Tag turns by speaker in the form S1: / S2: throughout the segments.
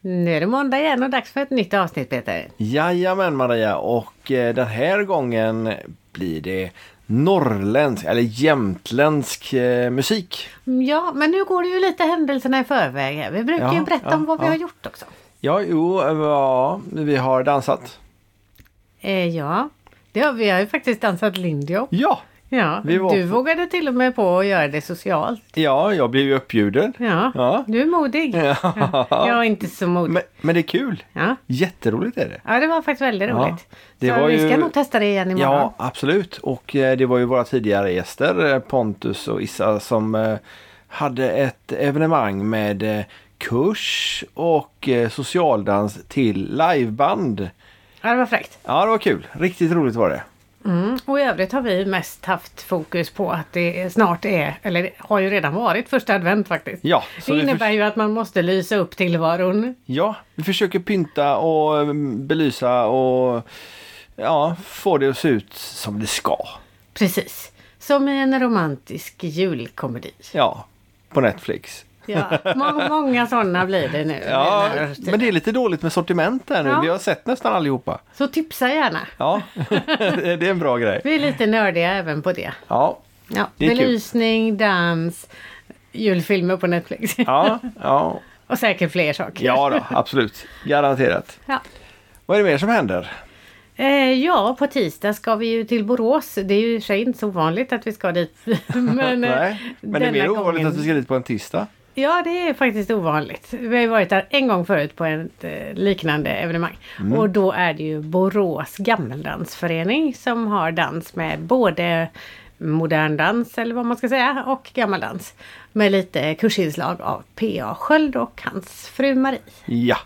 S1: Nu är det måndag igen och dags för ett nytt avsnitt Peter.
S2: Jajamän Maria och eh, den här gången blir det norrländsk eller jämtländsk eh, musik.
S1: Ja, men nu går det ju lite händelserna i förväg. här. Vi brukar
S2: Ja,
S1: ju berätta
S2: ja,
S1: om vad vi
S2: ja.
S1: har gjort också.
S2: Ja, jo, eh, ja, vi har dansat.
S1: Eh, ja, det har, vi har ju faktiskt dansat lindy hop.
S2: Ja,
S1: Ja,
S2: Vi var-
S1: du vågade till och med på att göra det socialt.
S2: ja jag blev ju uppbjuden.
S1: Ja,
S2: Ja.
S1: du är modig.
S2: Ja.
S1: Jag är inte så modig.
S2: Men, men det är kul.
S1: Ja.
S2: Jätteroligt är det.
S1: ja, det var faktiskt väldigt
S2: Ja,
S1: roligt.
S2: det
S1: så
S2: var
S1: vi ska
S2: ju-
S1: nog testa det igen imorgon.
S2: Ja, absolut. Och eh, det var ju våra tidigare gäster, eh, Pontus och Issa, som eh, hade ett evenemang med eh, kurs och eh, socialdans till liveband.
S1: ja, det var fräckt.
S2: Ja, det var kul. Riktigt roligt var det.
S1: Mm. Och i övrigt har vi mest haft fokus på att det snart är, eller det har ju redan varit första advent faktiskt.
S2: Ja, så
S1: det
S2: vi
S1: innebär
S2: förs-
S1: ju att man måste lysa upp tillvaron.
S2: Ja, vi försöker pynta och mm, belysa och ja, få det att se ut som det ska.
S1: Precis. Som i en romantisk julkomedi.
S2: Ja, på Netflix.
S1: Ja, må- många sådana blir det nu.
S2: Ja,
S1: den här tiden.
S2: men det är lite dåligt med sortiment där nu.
S1: Ja.
S2: Vi har sett nästan allihopa.
S1: Så tipsa gärna.
S2: Ja, det är en bra grej.
S1: Vi är lite nördiga även på det.
S2: Ja,
S1: Ja,
S2: Det är kul.
S1: belysning, dans, julfilmer på Netflix.
S2: ja, ja,
S1: Och säkert fler saker.
S2: ja då, absolut. Garanterat.
S1: Ja.
S2: Vad är det mer som händer?
S1: Eh, ja, på tisdag ska vi ju till Borås. Det är ju i och för sig inte så ovanligt att vi ska dit. men, eh,
S2: Nej, men det är
S1: denna
S2: mer ovanligt
S1: gången-
S2: att vi ska dit på en tisdag.
S1: Ja, det är faktiskt ovanligt. Vi har ju varit där en gång förut på ett eh, liknande evenemang.
S2: Mm.
S1: Och då är det ju Borås gammeldansförening som har dans med både modern dans eller vad man ska säga och gammeldans. Med lite kursinslag av P.A. Sköld och hans fru Marie.
S2: Ja,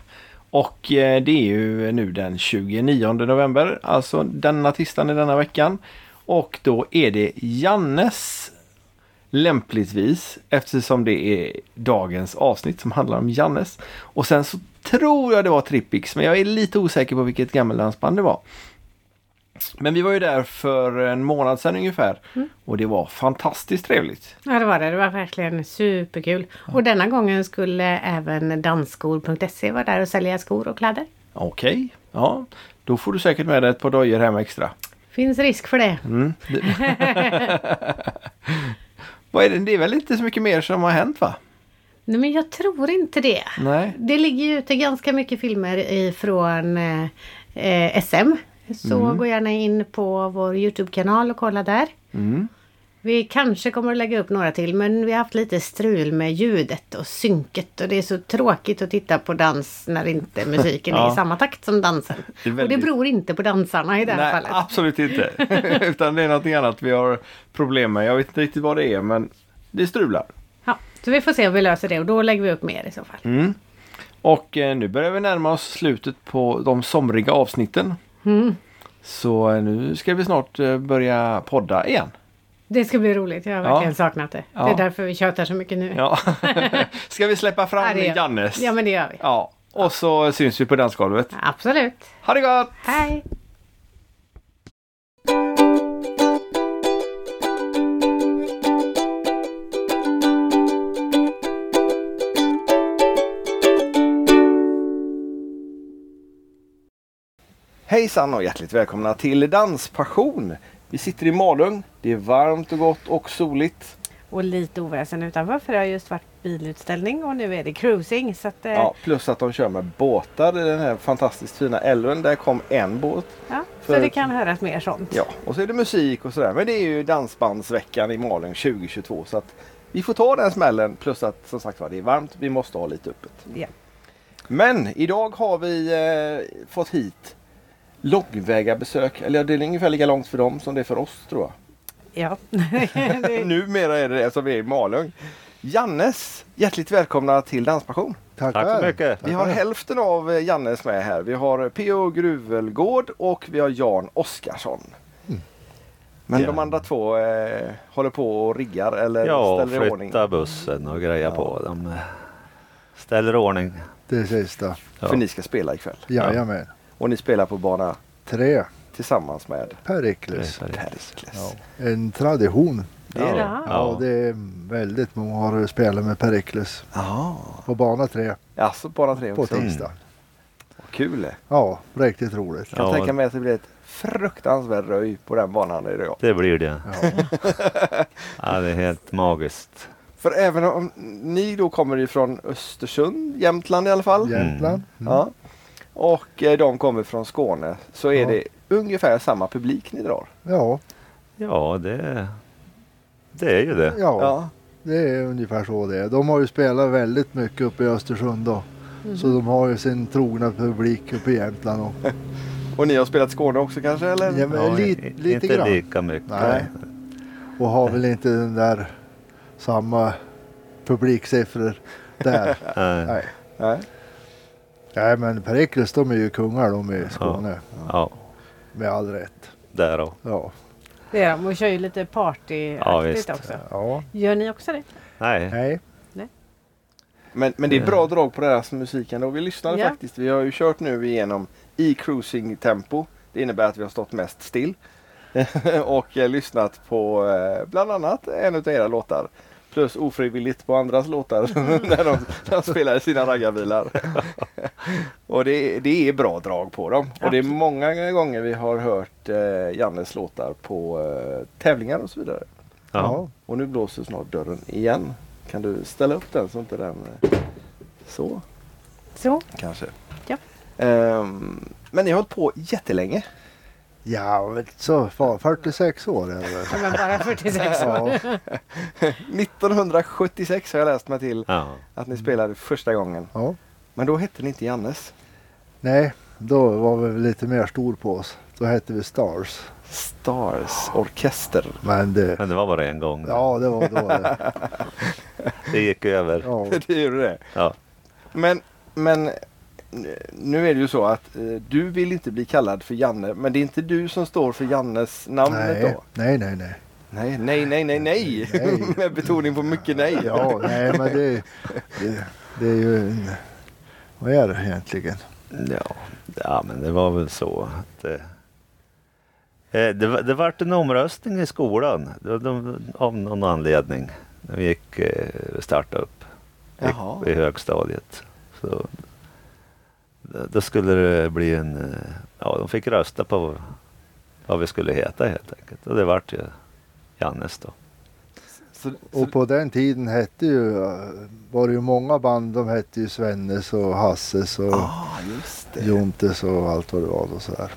S2: och eh, det är ju nu den 29 november, alltså denna tisdagen i denna veckan. Och då är det Jannes lämpligtvis eftersom det är dagens avsnitt som handlar om Jannes. Och sen så tror jag det var Trippix men jag är lite osäker på vilket gammeldansband det var. Men vi var ju där för en månad sedan ungefär och det var fantastiskt trevligt.
S1: Ja det var det, det var verkligen superkul. Och denna gången skulle även dansskor.se E vara där och sälja skor och kläder.
S2: Okej, ja då får du säkert med dig ett par dojor hem extra.
S1: Finns risk för det.
S2: Mm. Vad är det? det är väl inte så mycket mer som har hänt va?
S1: Nej men jag tror inte det.
S2: Nej.
S1: Det ligger ju ute ganska mycket filmer ifrån eh, eh, SM. Så gå gärna in på vår Youtube-kanal och kolla där.
S2: Mm.
S1: Vi kanske kommer att lägga upp några till men vi har haft lite strul med ljudet och synket och det är så tråkigt att titta på dans när inte musiken är
S2: Ja.
S1: i samma takt som dansen.
S2: Det är
S1: Och det
S2: väldigt-
S1: beror inte på dansarna i det här
S2: Nej,
S1: fallet.
S2: absolut inte. Utan det är någonting annat vi har problem med. Jag vet inte riktigt vad det är men det strular.
S1: Ja, så vi får se om vi löser det och då lägger vi upp mer i så fall.
S2: Mm. Och eh, nu börjar vi närma oss slutet på de somriga avsnitten.
S1: Mm.
S2: Så eh, nu ska vi snart eh, börja podda igen.
S1: Det ska bli roligt, jag har
S2: Ja.
S1: verkligen saknat det. Det
S2: Ja.
S1: är därför vi tjötar så mycket nu.
S2: Ja. ska vi släppa
S1: Ja,
S2: fram
S1: det gör-
S2: Jannes?
S1: Ja, men det gör vi.
S2: ja. Och så syns vi på dansgolvet.
S1: Absolut.
S2: Ha det gott!
S1: Hej!
S2: Hejsan och hjärtligt välkomna till Danspassion. Vi sitter i Malung. Det är varmt och gott och soligt.
S1: Och lite oväsen utanför för det har just varit bilutställning och nu är det cruising. Så att, eh,
S2: Ja, plus att de kör med båtar i den här fantastiskt fina älven. Där kom en båt.
S1: ja, så
S2: för-
S1: det kan höras mer sånt.
S2: Ja, och så är det musik och sådär. Men det är ju Dansbandsveckan i Malung 2022. Så att vi får ta den smällen. Plus att som sagt var det är varmt. Vi måste ha lite öppet.
S1: Ja.
S2: Men idag har vi eh, fått hit långväga besök. Eller ja, det är ungefär lika långt för dem som det är för oss tror jag.
S1: Ja. Det-
S2: Numera är det det som vi är i Malung. Jannes, hjärtligt välkomna till Danspassion.
S3: Tack så mycket.
S2: Vi har hälften av eh, Jannes med här. Vi har P.O. Gruvelgård och vi har Jan Oskarsson. Men de
S3: Ja.
S2: andra två eh, håller på och riggar eller
S3: Ja, och
S2: ställer i ordning.
S3: flytta bussen och greja på. De eh, ställer i ordning.
S4: Det sista.
S3: Ja.
S2: För ni ska spela ikväll.
S4: Jajamän.
S2: Och ni spelar på bana
S4: Tre.
S2: tillsammans med
S4: Perikles.
S3: Ja.
S2: Perikles.
S4: En tradition. Det är det.
S1: Ja.
S4: Ja.
S3: Ja.
S4: det är väldigt många har spelat med Pericles
S2: Jaha.
S4: på bana 3
S2: Alltså bara tre
S4: på
S3: Mm.
S2: också.
S4: tisdag.
S2: Vad Kul det.
S4: Ja, riktigt roligt.
S2: Kan
S3: Ja.
S2: tänka mig att det blir ett fruktansvärt röj på den banan idag.
S3: Det blir det.
S4: Ja.
S3: Ja, det är helt magiskt.
S2: För även om ni då kommer ifrån Östersund, Jämtland i alla fall.
S4: Jämtland. Mm.
S2: Ja. Och eh, de kommer från Skåne. Så är
S4: Ja.
S2: det ungefär samma publik ni drar.
S4: Mm. Ja,
S3: Ja, det, det är ju det.
S4: ja, det är ungefär så det är. De har ju spelat väldigt mycket uppe i Östersund då. Så de har ju sin trogna publik uppe i Jämtland. Och,
S2: Och ni har spelat Skåne också kanske? Eller?
S4: ja, men
S3: Ja,
S4: li,
S3: i-
S4: lite
S3: inte
S4: grann.
S3: lika mycket.
S4: Nej. Och har väl inte den där samma publiksiffror där.
S3: Nej.
S4: Nej.
S2: Nej.
S4: Nej men Pericles de är ju kungar de i Skåne.
S3: Ja,
S4: Med all rätt.
S3: där då.
S4: Ja.
S1: Det är de. Och kör ju lite
S3: Ja,
S1: partyaktigt
S3: visst.
S1: också.
S4: ja.
S1: Gör ni också det?
S3: Nej.
S4: Nej.
S2: Men, men det är bra drag på deras musik ändå. Vi lyssnade
S1: Ja.
S2: faktiskt. Vi har ju kört nu igenom i cruising tempo. Det innebär att vi har stått mest still. och eh, lyssnat på eh, bland annat en av era låtar. Plus ofrivilligt på andras låtar
S1: Mm.
S2: när, de, när de spelar i sina raggarbilar. och det, det är bra drag på dem. Och det är
S1: Absolut.
S2: många gånger vi har hört eh, Jannes låtar på eh, tävlingar och så vidare.
S3: Ja.
S4: Ja.
S2: Och nu blåser snart dörren igen. Kan du ställa upp den så inte den... eh, Så
S1: Så.
S2: kanske.
S1: Ja.
S2: Ehm, men ni har hållit på jättelänge.
S4: Ja, men så fan, 46 år är det väl.
S1: Ja, Men bara 46 år.
S4: Ja.
S2: 1976 har jag läst mig till
S3: Ja.
S2: att ni spelade första gången.
S4: ja.
S2: Men då hette ni inte Jannes.
S4: Nej, då var vi väl lite mer stor på oss. Då hette vi Stars.
S2: Stars Orkester.
S4: Men det,
S3: Men det var bara en gång.
S4: ja det var då det.
S3: Det gick över.
S4: Ja.
S2: det gjorde det.
S3: Ja.
S2: Men, men eh, nu är det ju så att eh, du vill inte bli kallad för Janne. Men det är inte du som står för Jannes namnet
S4: Nej,
S2: då?
S4: nej, nej, nej.
S2: Nej, nej, nej, nej, nej.
S4: Nej.
S2: Med betoning på mycket nej.
S4: Ja, nej men det, det, det är ju en, vad är det egentligen?
S3: Ja. ja, men det var väl så att... Eh, eh, det, var- det vart en omröstning i skolan de, de, av någon anledning. När vi gick eh, starta upp i,
S2: Jaha.
S3: i högstadiet. Så, då, då skulle det bli en... eh, Ja, de fick rösta på vad vi skulle heta helt enkelt. Och det vart ju Jannes då.
S2: Så, så,
S4: Och på den tiden hette ju, var det ju många band, de hette ju Svennes och Hasses och
S2: ah, just det. Mm.
S4: Jontes och allt vad det var och sådär.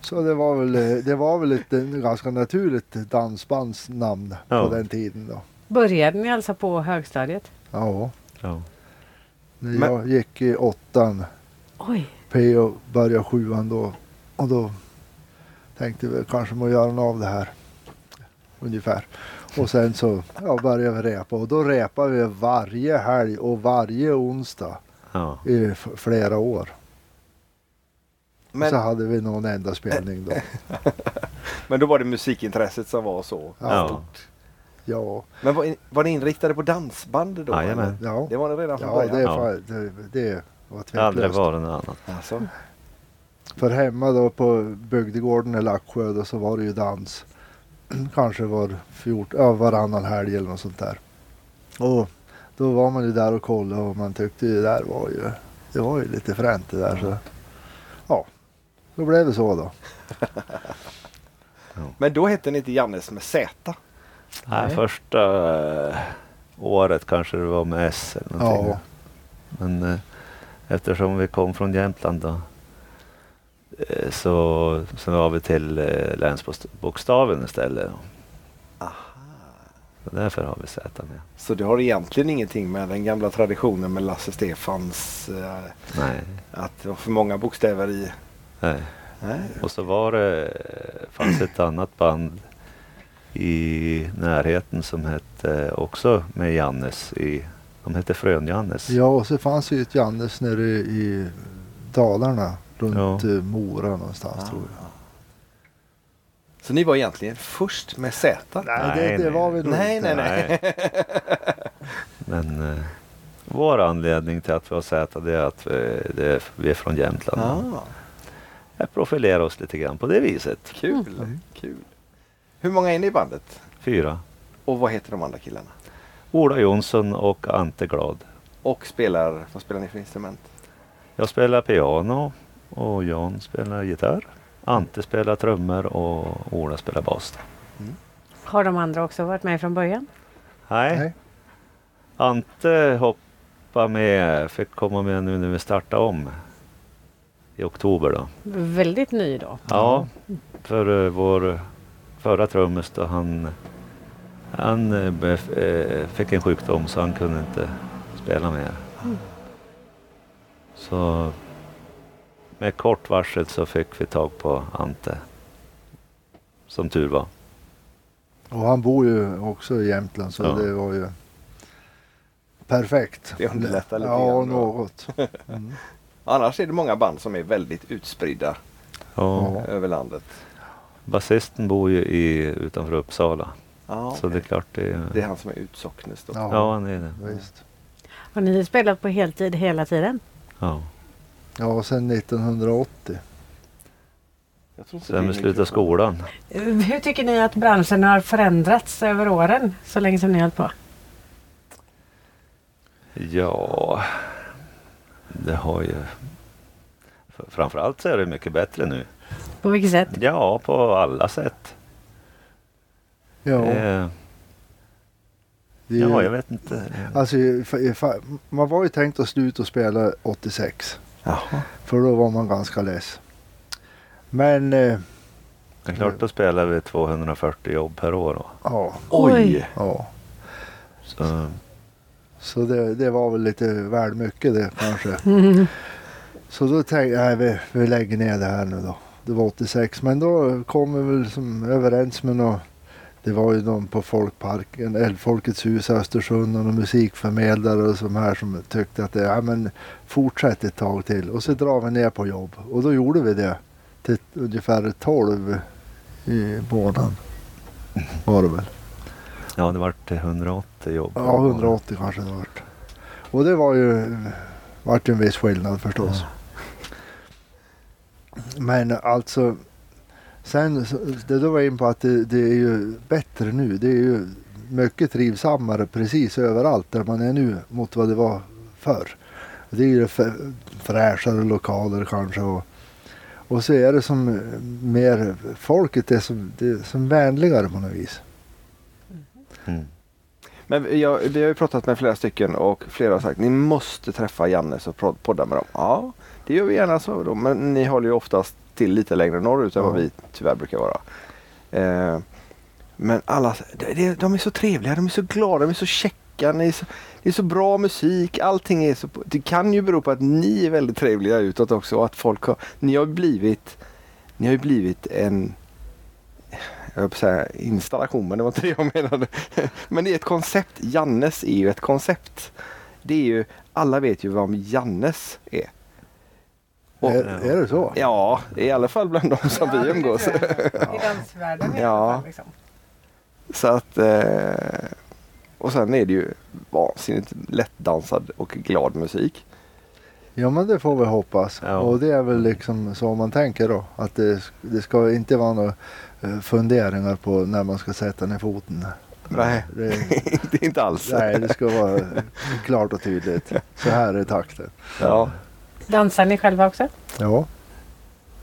S4: Så det var väl, det var väl ett ganska naturligt dansbandsnamn
S3: Ja.
S4: på den tiden då.
S1: Började ni alltså på högstadiet?
S4: Ja,
S3: Ja.
S4: när jag gick i åttan
S1: Oj.
S4: P och började sjuan då. Och då tänkte vi kanske må göra något av det här. Ungefär. Och sen så ja, började vi repa och då repade vi varje helg och varje onsdag
S3: ja.
S4: i f- flera år.
S2: Men,
S4: Så hade vi någon enda spelning då.
S2: men då var det musikintresset som var så.
S3: Ja.
S4: Ja,
S2: Men var, in, var ni inriktade på dansband då?
S3: Jajamän.
S2: eller?
S4: ja.
S2: Det var ni redan från
S4: ja
S2: början?
S4: det, är
S3: Ja.
S4: fan, det, det var
S3: Det har aldrig
S4: tveklöst.
S3: varit något annat.
S2: Alltså,
S4: För hemma då på bygdegården i Laxsjö då så var det ju dans. Kanske var fjort, ja, varannan helg eller något sånt där. Och då var man ju där och kollade och man tyckte ju det där var ju, det var ju lite fränt det där. Så. Ja, då blev det så då.
S2: men då hette ni inte Jannes med Z?
S3: Nej, första eh, året kanske det var med S eller någonting.
S4: Ja,
S3: Men eh, eftersom vi kom från Jämtland då, eh, så, så var vi till eh, länsbokstaven istället. Så därför har vi Z med.
S2: Så det har egentligen ingenting med den gamla traditionen med Lasse Stefans eh,
S3: Nej,
S2: att det var för många bokstäver i?
S3: nej.
S2: Nej.
S3: Och så var det, eh, fanns ett annat band i närheten som hette eh, också med Jannes i, de hette Frön-Jannes.
S4: ja och så fanns ju ett Jannes nere i, i Dalarna runt
S3: Ja.
S4: eh, Mora någonstans tror jag.
S2: Så ni var egentligen först med Z?
S4: Nej, det, det var vi nog
S2: Nej,
S4: inte.
S2: nej, nej.
S3: Men eh, vår anledning till att vi har Z det är att vi, det är, vi är från Jämtland.
S2: Ah,
S4: Mm.
S3: Jag profilerar oss lite grann på det viset.
S2: kul, kul. Hur många är ni i bandet?
S3: Fyra.
S2: Och vad heter de andra killarna?
S3: Ola Jonsson och Ante Glad.
S2: Och spelar, vad spelar ni för instrument?
S3: Jag spelar piano och Jan spelar gitarr. Ante spelar trummor och Ola spelar bas. då.
S1: Har de andra också varit med från början?
S3: Nej.
S4: Nej.
S3: Ante hoppade med, fick komma med nu när vi startade om i oktober då.
S1: Väldigt ny då.
S3: Ja, för eh, vår förra trummis då han, han eh, bef- eh, fick en sjukdom så han kunde inte spela mer. Så med kort varsel så fick vi tag på Ante. Som tur var.
S4: Och han bor ju också i Jämtland så
S3: Ja.
S4: det var ju perfekt.
S2: Det underlättar lite
S4: Ja,
S2: grann då.
S4: något. Mm.
S2: Annars är det många band som är väldigt utspridda
S3: Ja,
S4: Ja.
S2: över landet.
S3: basisten bor ju i, utanför Uppsala.
S2: Ja,
S3: Så det är klart det är...
S2: det är han som är utsocknes då.
S4: Ja.
S3: Ja, han är det.
S4: Visst.
S1: Har ni spelat på heltid hela tiden?
S3: Ja.
S4: Ja, sen 1980.
S2: Jag tror inte
S3: Sen
S2: det är
S3: vi slutade
S2: mikrofon.
S3: skolan.
S1: Eh, Hur tycker ni att branschen har förändrats över åren så länge som ni har hållit på?
S3: Ja, det har ju... F- Framförallt så är det mycket bättre nu.
S1: På vilket sätt?
S3: Ja, på alla sätt.
S4: Ja,
S3: Eh,
S4: det är ju,
S3: ja, jag vet inte.
S4: Alltså, fa- fa- man var ju tänkt att sluta och spela 86.
S2: Jaha.
S4: För då var man ganska less. Men eh,
S3: Det är klart, då spelar vi 240 jobb per år. Då.
S4: ja,
S2: Oj!
S4: ja.
S3: Så,
S4: Så det, det var väl lite väl mycket det kanske. Så då tänkte jag, nej, vi, vi lägger ner det här nu då. Det var 86, men då kom vi väl som överens med någon. Det var ju någon på Folkparken, eller Folkets hus i Östersund och någon musikförmedlare och som här som tyckte att det, ja men fortsätt ett tag till och så drar vi ner på jobb. Och då gjorde vi det till ungefär 12 i månaden. Var det väl.
S3: ja, det vart 180 jobb. per
S4: Ja,
S3: år.
S4: 180 kanske det vart. Och det var ju, vart ju en viss skillnad förstås. Men alltså, sen så- det då var jag in på att det, det är ju bättre nu. Det är ju mycket trivsammare precis överallt där man är nu mot vad det var förr. Det är ju fr- fräschare lokaler kanske och, och så är det som mer, folket är som, det är som vänligare på något vis.
S3: Mm.
S2: Men jag, vi har ju pratat med flera stycken och flera har sagt ni måste träffa Jannes och prod- podda med dem. Ja, det gör vi gärna så då. Men ni håller ju oftast till lite längre norrut än vad
S4: Ja.
S2: vi tyvärr brukar vara. Eh, men alla, det- det- de är så trevliga, de är så glada, de är så käcka. Ni är så, det är så bra musik, allting är så... Det kan ju bero på att ni är väldigt trevliga utåt också och att folk har... Ni har ju blivit, ni har ju blivit en... Jag höll på att säga installation, men det var inte det jag menade. Men det är ett koncept. Jannes är ju ett koncept. Det är ju, alla vet ju vad Jannes är. Och,
S4: är, är det så?
S2: ja, i alla fall bland de som vi umgås.
S1: I dansvärlden liksom.
S2: i alla Ja. fall, Så att, eh, och sen är det ju vansinnigt lättdansad och glad musik.
S4: Ja men det får vi hoppas.
S3: Ja.
S4: Och det är väl liksom så man tänker då. Att det, det ska inte vara några eh, funderingar på när man ska sätta ner foten.
S2: Nej,
S4: Det,
S2: det är inte alls.
S4: nej, det ska vara klart och tydligt. Så här är takten.
S2: Ja.
S1: Dansar ni själva också?
S4: Ja,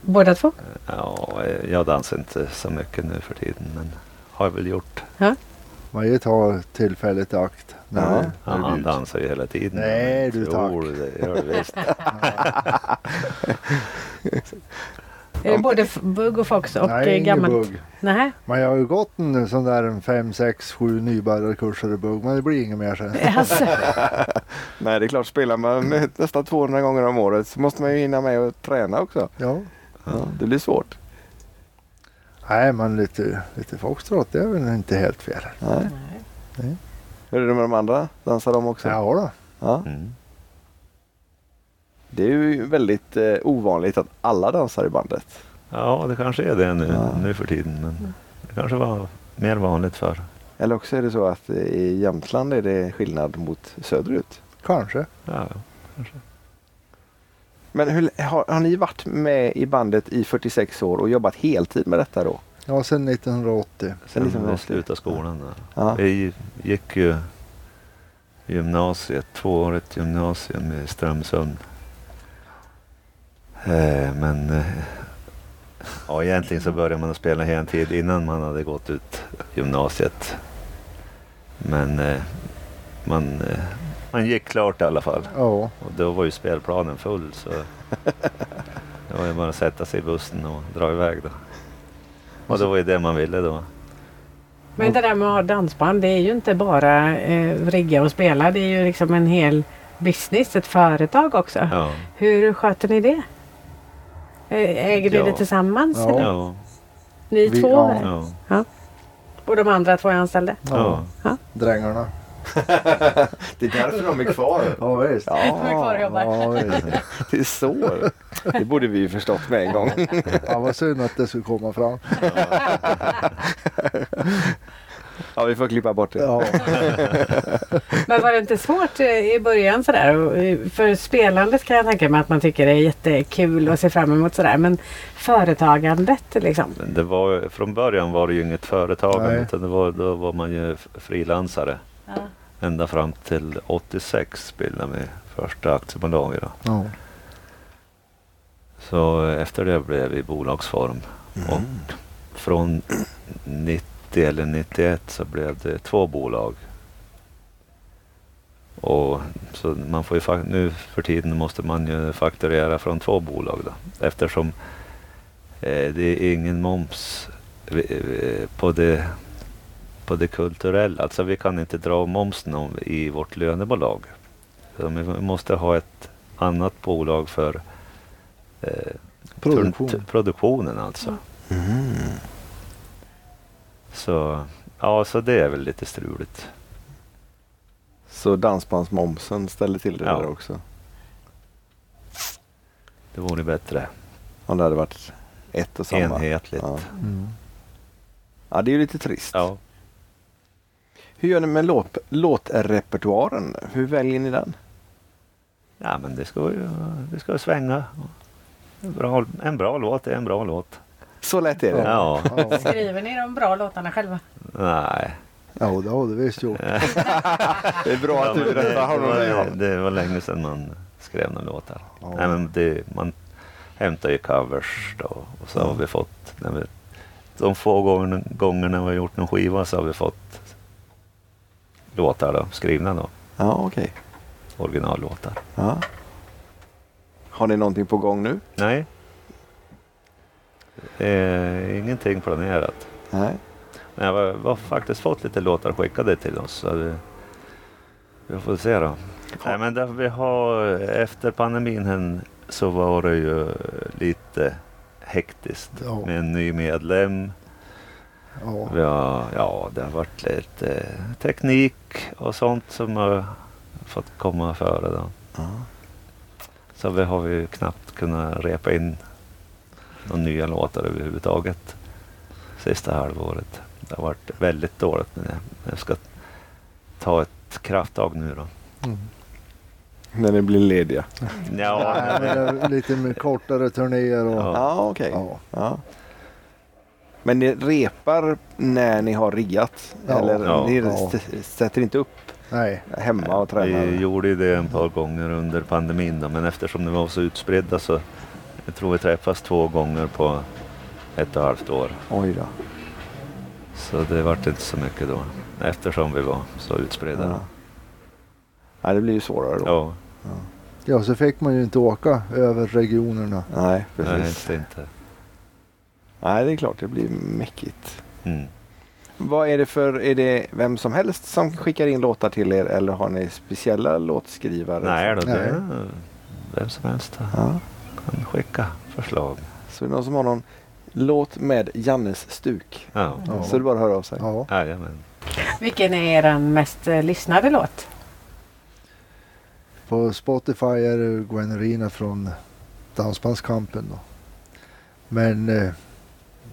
S1: Båda två?
S3: Ja, eh, jag dansar inte så mycket nu för tiden, men har jag väl gjort.
S4: man ju tar tillfället i akt. När
S2: Ja.
S4: det-
S3: Ja, han dansar ju hela tiden.
S4: Nej, du, tack.
S3: Jo, det gör det visst.
S1: Är det Eh, både f- bugg och fox och
S4: nej,
S1: Nej,
S4: ingen
S1: gammalt?
S4: bugg.
S1: Nej,
S4: Men jag har ju gått en sån där en fem, sex, sju nybörjarkurser i bugg. Men det blir inget mer sen.
S1: alltså,
S2: Nej, det är klart, spelar man nästan 200 gånger om året så måste man ju hinna med att träna också.
S4: Ja.
S2: Det blir svårt.
S4: Nej, men lite, lite foxtrot det är väl inte helt fel.
S2: Nej.
S4: Nej.
S2: Hur är det med de andra? Dansar de också?
S4: Ja då.
S2: Ja.
S3: Mm.
S2: Det är ju väldigt eh, ovanligt att alla dansar i bandet.
S3: Ja, det kanske är det nu,
S2: Ja.
S3: nu för tiden. Men det kanske var mer vanligt förr.
S2: Eller också är det så att i Jämtland är det skillnad mot söderut.
S4: Kanske.
S3: Ja.
S2: Men hur, har, har ni varit med i bandet i 46 år och jobbat heltid med detta då?
S4: Ja, sen 1980.
S2: Sen liksom
S3: vi
S2: var slut.
S3: slutade skolan. Där.
S2: Ja.
S3: Vi gick ju gymnasiet, tvåårigt gymnasium i Strömsund. Eh, men eh, ja, egentligen så började man att spela hela en tid innan man hade gått ut gymnasiet. Men eh, man, eh, man gick klart i alla fall.
S4: Ja,
S3: Och då var ju spelplanen full så det var ju bara att sätta sig i bussen och dra iväg då. Och det var ju det man ville då.
S1: Men det där med att ha dansband det är ju inte bara eh, rigga och spela. Det är ju liksom en hel business, ett företag också.
S3: Ja.
S1: Hur sköter ni det? Eh, Äger ni
S3: Ja.
S1: det tillsammans?
S4: Ja.
S1: eller?
S3: Ja.
S1: Ni
S4: Vi-
S1: två?
S4: ja.
S1: eller?
S3: Ja.
S1: Och de andra två är anställda?
S3: Ja.
S4: drängarna.
S2: Det är därför de är kvar.
S4: Ja, visst.
S2: Ja,
S1: De är kvar och jobbar.
S4: Ja, visst.
S2: det är så. Det borde vi ju förstått med en gång.
S4: ja, vad synd att det skulle komma fram.
S2: Ja, vi får klippa bort det.
S4: Ja,
S1: Men var det inte svårt eh, i början sådär? Och, eh, För spelandet kan jag tänka mig att man tycker det är jättekul och ser fram emot sådär. Men företagandet liksom?
S3: Men Det var, från början var det ju inget företagande
S4: Nej.
S3: utan det var, då var man ju f- frilansare. Ända fram till 86 bildade vi första aktiebolaget. Då.
S4: ja.
S3: Så eh, efter det blev vi bolagsform. Och från 90 eller 91 så blev det två bolag. Och så man får ju, fak- nu för tiden måste man ju fakturera från två bolag då. Eftersom eh, det är ingen moms vi- vi- på det, på det kulturella. Alltså vi kan inte dra momsen om- i vårt lönebolag. Så vi måste ha ett annat bolag för eh,
S4: Produktion.
S3: Tur- t- Produktionen alltså.
S2: Mm.
S3: Så, ja, så det är väl lite struligt.
S2: Så dansbandsmomsen ställer till det
S3: Ja.
S2: där också.
S3: Det vore bättre
S2: Om det hade varit ett och samma.
S3: enhetligt.
S2: Ja.
S3: Ja.
S4: Mm.
S2: ja, det är ju lite trist. Hur gör ni med låt, låtrepertoaren? Hur väljer ni den?
S3: ja, men det ska ju det ska ju svänga. En bra, en bra låt är en bra låt.
S2: Så lätt är det.
S4: Ja.
S3: Ja,
S4: Ja,
S1: Skriver ni de bra låtarna själva?
S3: nej.
S4: ja det har du visst gjort.
S2: Det är bra
S3: Ja,
S2: att
S3: men
S2: du
S3: det,
S2: berättar honom
S3: det,
S2: det.
S3: var,
S2: Johan.
S3: det var länge sedan man skrev några låtar.
S4: Ja.
S3: Nej, men det, man hämtar ju covers då, och så har vi fått, när vi, de få gångerna, gångerna vi har gjort någon skiva så har vi fått låtar då, skrivna då,
S2: Ja, okej.
S3: originallåtar.
S2: Ja. Har ni någonting på gång nu?
S3: Nej, eh, ingenting planerat.
S2: Nej.
S3: Men jag har, vi har faktiskt fått lite låtar skickade till oss. Så vi, vi får se då. Nej, men där vi har, efter pandemin hen, så var det ju lite hektiskt
S4: Ja.
S3: med en ny medlem.
S4: Ja.
S3: Vi har, ja, det har varit lite eh, teknik och sånt som har fått komma före. Då. Så vi har ju knappt kunnat repa in några nya låtar överhuvudtaget sista halvåret. Det har varit väldigt dåligt med det. Men Jag ska ta ett krafttag nu då.
S4: Mm.
S2: När ni blir lediga?
S3: Ja,
S4: Nej, men det är lite mer kortare turnéer och...
S3: Ja.
S2: Ja, okej.
S4: Ja.
S2: Ja. Men ni repar när ni har riggat?
S4: Ja.
S2: Eller
S3: Ja.
S2: ni
S4: Ja.
S2: st- sätter inte upp
S4: Nej.
S2: hemma och tränar?
S3: vi gjorde ju det en par gånger under pandemin då, men eftersom det var så utspridda så jag tror vi träffas två gånger på ett och ett halvt år.
S2: Oj då.
S3: Så det vart inte så mycket då eftersom vi var så utspridda.
S2: Ja.
S3: då.
S2: Ja, det blir ju svårare då.
S3: Ja,
S4: Ja, så fick man ju inte åka över regionerna.
S2: Nej,
S3: nej,
S2: precis.
S3: helst inte.
S2: Nej, det är klart. Det blir mäckigt.
S3: Mm.
S2: Vad är det för, är det vem som helst som skickar in låtar till er eller har ni speciella låtskrivare?
S3: Nej då, det
S4: Nej.
S3: är vem som helst
S2: Ja.
S3: kan skicka förslag.
S2: Så är det någon som har någon låt med Jannes stuk?
S3: Ja.
S4: Ja.
S2: Så det är bara att höra av sig.
S4: Ja.
S3: Jajamän.
S1: Vilken är er mest eh, lyssnade låt?
S4: På Spotify är det Gwen Rina från Dansbandskampen då. Men eh,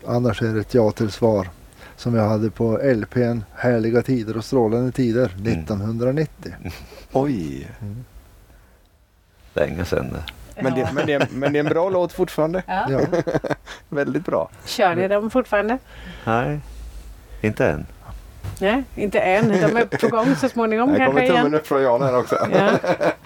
S4: annars är det ett ja till svar. Som jag hade på LPn Härliga tider och strålande tider 1990.
S2: Oj!
S3: Länge sedan det.
S2: Men det, men, det, men det är en bra låt fortfarande.
S1: Ja.
S4: Ja.
S2: Väldigt bra.
S1: Kör ni dem fortfarande?
S3: Nej, inte än.
S1: Nej, inte än. De är på gång så småningom
S2: Här
S1: kanske
S2: kommer tummen
S1: igen.
S2: upp från Jan här också.
S1: Ja.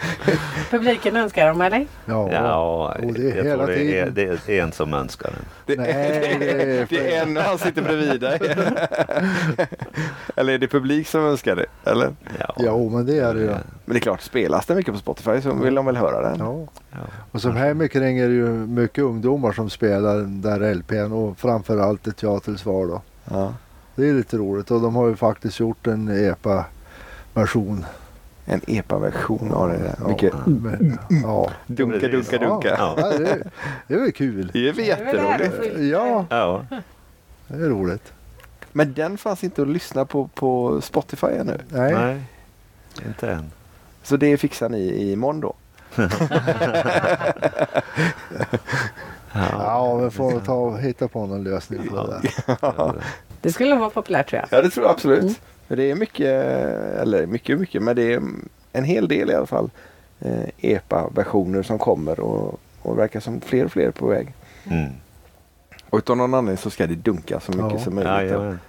S1: Publiken önskar dem, eller?
S4: Ja.
S3: Ja,
S4: Jo, det är
S3: jag
S4: hela
S3: tror det är,
S4: tiden.
S3: det är en som önskar den.
S2: Det,
S4: Nej,
S2: det,
S4: det
S2: är,
S4: är-
S2: det är en och han sitter bredvid dig. eller är det publik som önskar det? Eller?
S4: Jo, men det är det ju.
S2: Men det är klart, spelas det mycket på Spotify så vill de väl höra den.
S4: Ja.
S3: Ja.
S4: Och som hemik ringer ju mycket ungdomar som spelar den där LPn och framförallt ett ja till svar då.
S2: Ja.
S4: Det är lite roligt och de har ju faktiskt gjort en E EPA-version.
S2: En EPA-version av det. där. Mycket
S4: Men, ja.
S2: dunka, dunka, dunka.
S3: Ja.
S4: Mm, Ja, det, är- det är väl kul.
S2: Det är väl jätteroligt.
S4: Ja,
S3: Ja,
S4: det är roligt.
S2: Men den fanns inte att lyssna på på Spotify ännu.
S4: Nej,
S3: nej, inte än.
S2: Så det fixar ni imorgon då.
S4: ja, men får ta och hitta på någon lösning på det där.
S1: Det skulle vara populärt tror jag.
S2: Ja, det tror jag absolut. Mm. För det är mycket, eller mycket, mycket, men det är en hel del i alla fall eh, EPA-versioner som kommer och, och verkar som fler och fler på väg.
S3: Mm.
S2: Och utav någon anledning så ska det dunka så mycket
S4: Ja.
S2: som
S3: Ja,
S2: möjligt.
S3: jajamän.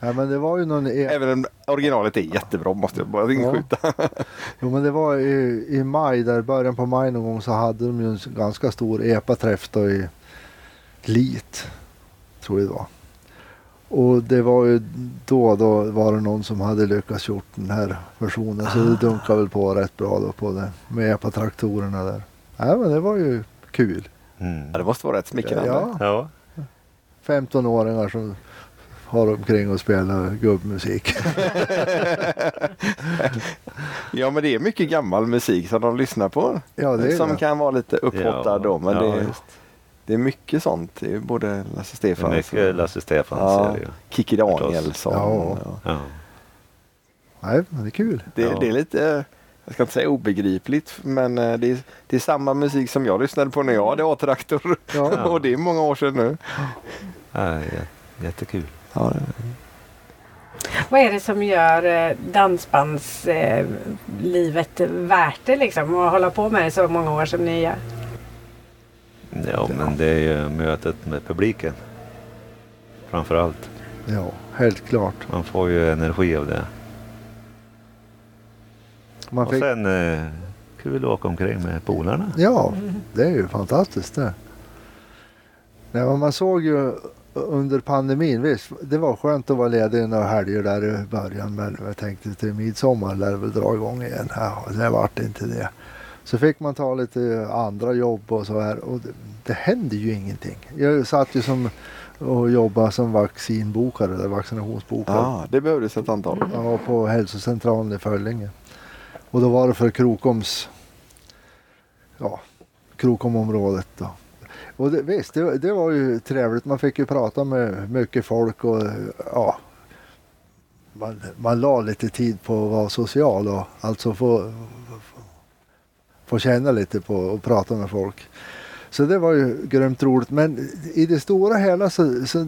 S4: Nej, men det var ju någon e-
S2: Även om originalet är jättebra måste jag bara
S4: Ja.
S2: inskjuta.
S4: Jo men det var i, i maj, där i början på maj någon gång så hade de ju en s- ganska stor EPA-träff då i Lit. Tror jag det var. Och det var ju då då var det någon som hade lyckats gjort den här versionen. Så det dunkade väl på rätt bra då på det. Med EPA-traktorerna där. Ja men det var ju kul.
S2: Ja,
S3: Mm.
S2: det måste vara rätt smickrande.
S4: Ja,
S3: Ja.
S4: 15-åringar som har omkring och spelar gubbmusik.
S2: Ja, men det är mycket gammal musik som de lyssnar på.
S4: Ja det är
S2: som
S4: det.
S2: kan vara lite upphottad
S3: Ja,
S2: då. Men
S3: ja,
S2: det,
S3: visst.
S2: det är mycket sånt. Det är ju både Lasse
S3: Det är
S2: Stefans
S3: mycket Lasse Stefans
S2: Ja,
S3: är det ju.
S2: Kikki Danielsson.
S4: Ja.
S2: Ja.
S3: Ja.
S4: Nej men det är kul.
S2: Det,
S3: Ja.
S2: det är lite, eh, jag ska inte säga obegripligt, men eh, det är, det är samma musik som jag lyssnade på när jag hade A-traktor.
S4: Ja.
S2: och det är många år sedan nu.
S3: Ja, jä- jättekul.
S2: Ja,
S1: Vad är det som gör eh, dansbandslivet eh, livet värt det liksom? Att hålla på med det så många år som ni gör?
S3: Ja, men det är ju mötet med publiken. Framför allt.
S4: Ja, helt klart.
S3: Man får ju energi av det.
S4: Man
S3: Och sen eh, kul att åka omkring med polarna.
S4: Ja, det är ju fantastiskt det. Nej, men man såg ju under pandemin, visst, det var skönt att vara ledig några helger där i början, men jag tänkte till midsommar lär det väl dra igång igen. Ja, det vart inte det. Så fick man ta lite andra jobb och så här och det, det hände ju ingenting. Jag satt ju som och jobbade som vaccinbokare, eller vaccinationsbokare.
S2: ah, det behövdes ett antal.
S4: Jag var på hälsocentralen i Föllinge. Och då var det för Krokoms, ja, Krokomområdet då. Och det, visst, det, det var ju trevligt. Man fick ju prata med mycket folk och ja, man, man la lite tid på att vara social och alltså få, få känna lite på och prata med folk. Så det var ju grymt roligt. Men i det stora hela så, så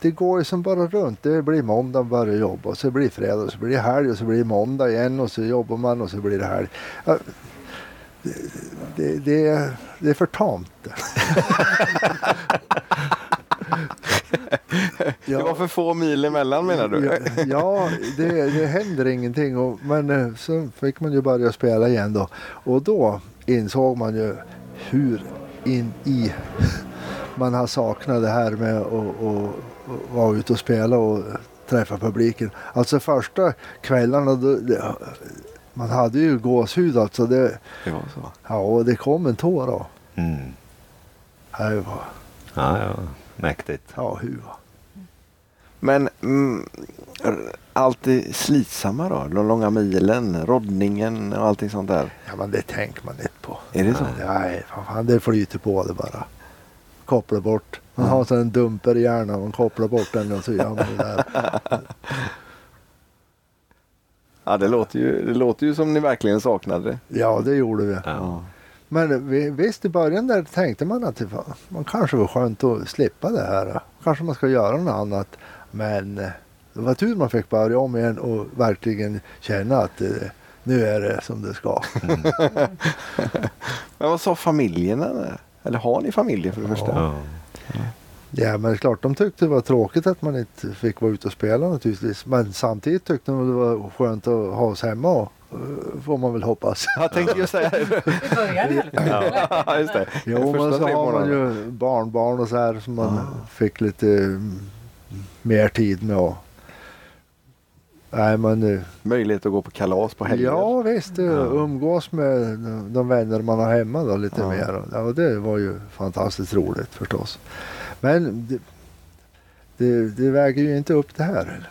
S4: det går ju som bara runt. Det blir måndag och börjar jobba och så blir det fredag och så blir det helg och så blir det måndag igen och så jobbar man och så blir det helg. Ja, Det, det, det, är- det är för tamt.
S2: Det var för få mil emellan menar du?
S4: Ja, ja det, det händer ingenting. Och, men eh, så fick man ju börja spela igen då. Och då insåg man ju hur in i man har saknat det här med att att- att vara ute och spela och träffa publiken. Alltså första kvällarna, då, det, man hade ju gåshud alltså. Det,
S2: Det var så.
S4: ja, och det kom en tår då.
S3: Mm.
S4: Ja, det var-
S3: Ja, ja. Mäktigt.
S4: Ja, huva.
S2: Men mm, r- allt det slitsamma då? De långa milen, roddningen och allting sånt där.
S4: Ja, men det tänker man inte på.
S2: Är det så?
S4: Nej, vad fan, det flyter på det bara. Koppla bort. Man har sån en dumper i hjärnan och kopplar bort den och så gör man det där.
S2: Ja, det låter ju, det låter ju som ni verkligen saknade det.
S4: Ja, det gjorde vi.
S3: Ja.
S4: Men vi, visst, i början där tänkte man att det var, man kanske var skönt att slippa det här. Kanske man ska göra något annat. Men eh, det var tur man fick börja om igen och verkligen känna att eh, nu är det som det ska.
S2: Men vad sa familjen? Eller, eller har ni familjer för det första?
S3: Ja.
S4: Ja, men det är klart de tyckte det var tråkigt att man inte fick vara ute och spela naturligtvis. Men samtidigt tyckte de det var skönt att ha oss hemma och, eh, får man väl hoppas.
S2: Jag tänkte ju säga det.
S1: I början i alla fall.
S2: Ja, just det.
S4: Jo,
S2: De
S4: men
S2: första
S4: så
S2: tre
S4: har man
S2: månaderna.
S4: ju barnbarn och så här som man fick lite mm, mer tid med. Och... Nej, men eh,
S2: Möjlighet att gå på kalas på helger.
S4: ja visst, det- umgås med de- de vänner man har hemma då lite
S2: Ja.
S4: mer. Och- Ja, och det var ju fantastiskt roligt förstås. Men det, det, det väger ju inte upp det här. Eller?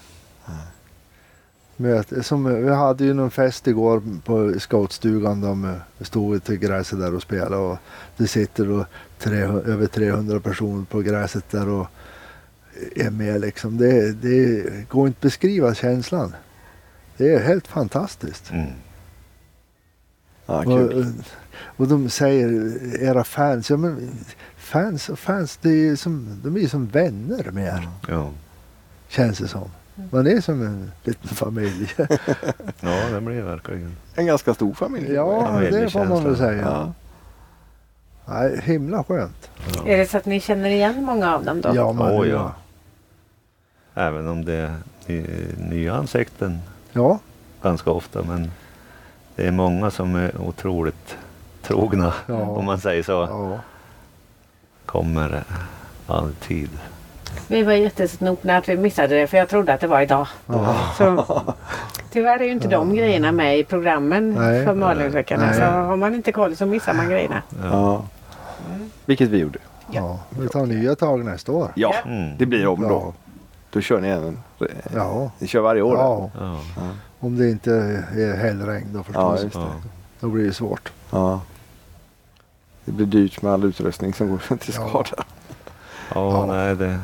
S4: Möte, som, vi hade ju någon fest igår på scoutstugan. De eh, stod ute i gräset där och spelade. Och det sitter då tre, över 300 personer på gräset där och är med. Liksom. Det, det går inte att beskriva känslan. Det är helt fantastiskt.
S3: Mm.
S2: Ja,
S4: Och,
S2: kul.
S4: och de säger, era fans, ja men fans och fans, det är ju som, de är ju som vänner med er,
S3: Ja.
S4: känns det som. Man är som en liten familj.
S3: ja, det blir verkligen.
S2: En ganska stor familj.
S4: ja, det får man väl
S3: Familjekänsla.
S4: säga.
S2: Ja.
S4: Nej, himla skönt.
S1: Är det så att ni känner igen många av dem då?
S4: Ja, men,
S3: Åh,
S4: ja.
S3: ja. Även om det är ny- nya ansikten
S4: ja,
S3: ganska ofta. Men det är många som är otroligt trogna,
S4: Ja.
S3: om man säger så.
S4: ja.
S3: Kommer alltid.
S1: Vi var jättesnopna att vi missade det för jag trodde att det var idag. Så, tyvärr är ju inte de grejerna med i programmen
S4: Nej.
S1: för Malungsveckan.
S4: Nej.
S1: Så har man inte koll så missar man grejerna.
S2: Ja. Vilket vi gjorde.
S4: ja. Vi tar nya tag nästa år.
S2: Ja,
S3: Mm.
S2: det blir om då.
S4: Ja.
S2: Då kör ni även.
S4: Ja.
S2: Ni kör varje år?
S4: ja,
S3: Ja.
S4: om det inte är hällregn då
S2: ja
S4: förstås.
S2: just det.
S3: Ja.
S4: Då blir det svårt.
S2: Ja. Det blir dyrt med all utrustning som går till
S4: Ja.
S2: skada.
S3: Ja,
S4: Ja.
S3: nej det,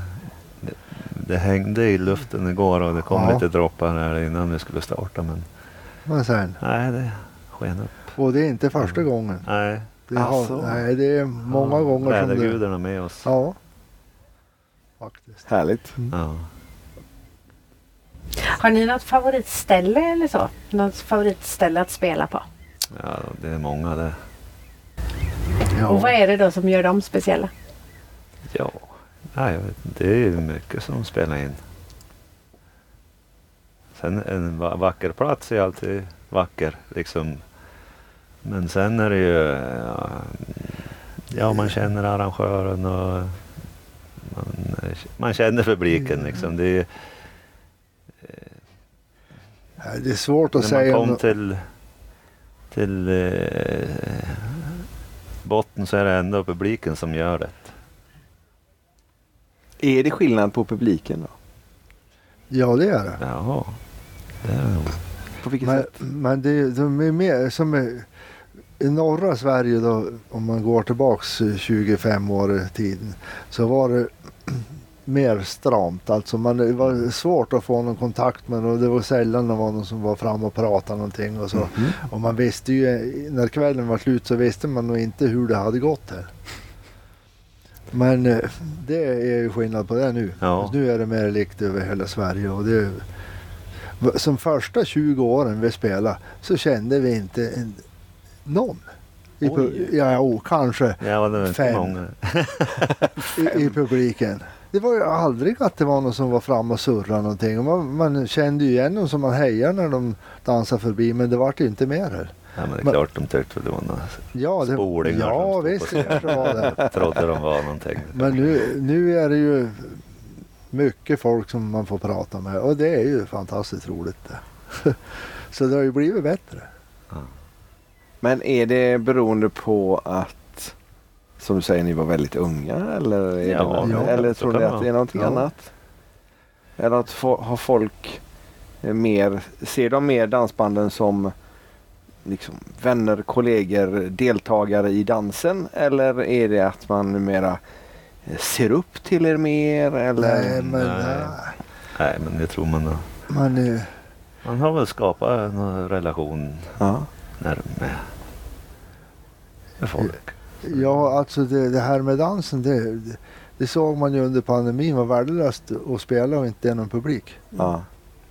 S3: det, det hängde i luften igår och det kom
S4: Ja.
S3: lite droppar här innan vi skulle starta. Men
S4: Men sen,
S3: nej, det sken upp.
S4: och det är inte första
S3: Mm.
S4: gången.
S3: Nej,
S4: Det, har,
S2: Asså.
S3: Alltså.
S4: nej, det är många gånger som det...
S3: vädergudarna med oss. Ja.
S4: Ja. Faktiskt.
S2: Härligt.
S1: Har ni något favoritställe eller så? Något favoritställe att spela på?
S3: Ja, det är många det.
S1: Och vad
S4: Ja.
S1: är det då som gör dem speciella?
S3: Ja, nej, jag vet inte. det är ju mycket som spelar in. Sen en va- vacker plats är alltid vacker liksom. Men sen är det ju, ja, ja man känner arrangören och man, man känner publiken liksom. Det är,
S4: Nej, Det är svårt att
S3: när man
S4: säga. om-
S3: kom till, till eh, botten så är det ändå publiken som gör det.
S2: Är det skillnad på publiken då?
S4: Ja, det är det.
S3: Jaha, det är det nog.
S2: På vilket
S4: Men,
S2: sätt?
S4: men det, de är mer som är, i norra Sverige då, om man går tillbaks eh, 25 år i tiden, så var det mer stramt. Alltså man, det var svårt att få någon kontakt med och det var sällan det var någon som var fram och pratade någonting och så.
S2: Mm.
S4: Och man visste ju, eh, när kvällen var slut så visste man nog inte hur det hade gått här. Men eh, det är ju skillnad på det nu. Alltså,
S3: Ja.
S4: Nu är det mer likt över hela Sverige. Och det, som första 20 åren vi spelade så kände vi inte en, någon. I, pu-
S2: Oj.
S4: ja, jo, kanske
S3: Ja, det är inte
S4: Fem.
S3: många.
S4: i, i publiken. Det var ju aldrig att det var någon som var fram och surrade någonting. Och Man, man kände ju igen dem som man hejar när de dansade förbi men det vart ju inte mer. här.
S3: Ja, men det är
S4: Men-
S3: klart de tyckte det var något.
S4: Ja, det,
S3: Spolingar som
S4: ja
S3: stod på
S4: visst
S3: scenen.
S4: kanske det var det.
S3: Trodde de var någonting.
S4: Men nu, nu är det ju mycket folk som man får prata med och det är ju fantastiskt roligt. det. Så det har ju blivit bättre.
S2: Men är det beroende på att, som du säger, ni var väldigt unga? Eller, är
S3: Ja,
S2: det,
S4: ja,
S2: eller
S3: så
S2: tror
S3: kan
S2: ni
S3: det
S2: att det är någonting
S4: vara. Ja.
S2: annat? Eller att fo- har folk eh, mer, ser de mer dansbanden som liksom, vänner, kollegor, deltagare i dansen? Eller är det att man numera eh, ser upp till er mer? Eller?
S4: Nej, men
S3: Nej.
S4: nej.
S3: Nej, men jag tror man har,
S4: Man, eh,
S3: man har väl skapat en relation
S2: Ja.
S3: närmare med folk.
S4: ja, alltså det, det här med dansen, det, det, det såg man ju under pandemin var värdelöst att spela och inte någon publik.
S2: Ja.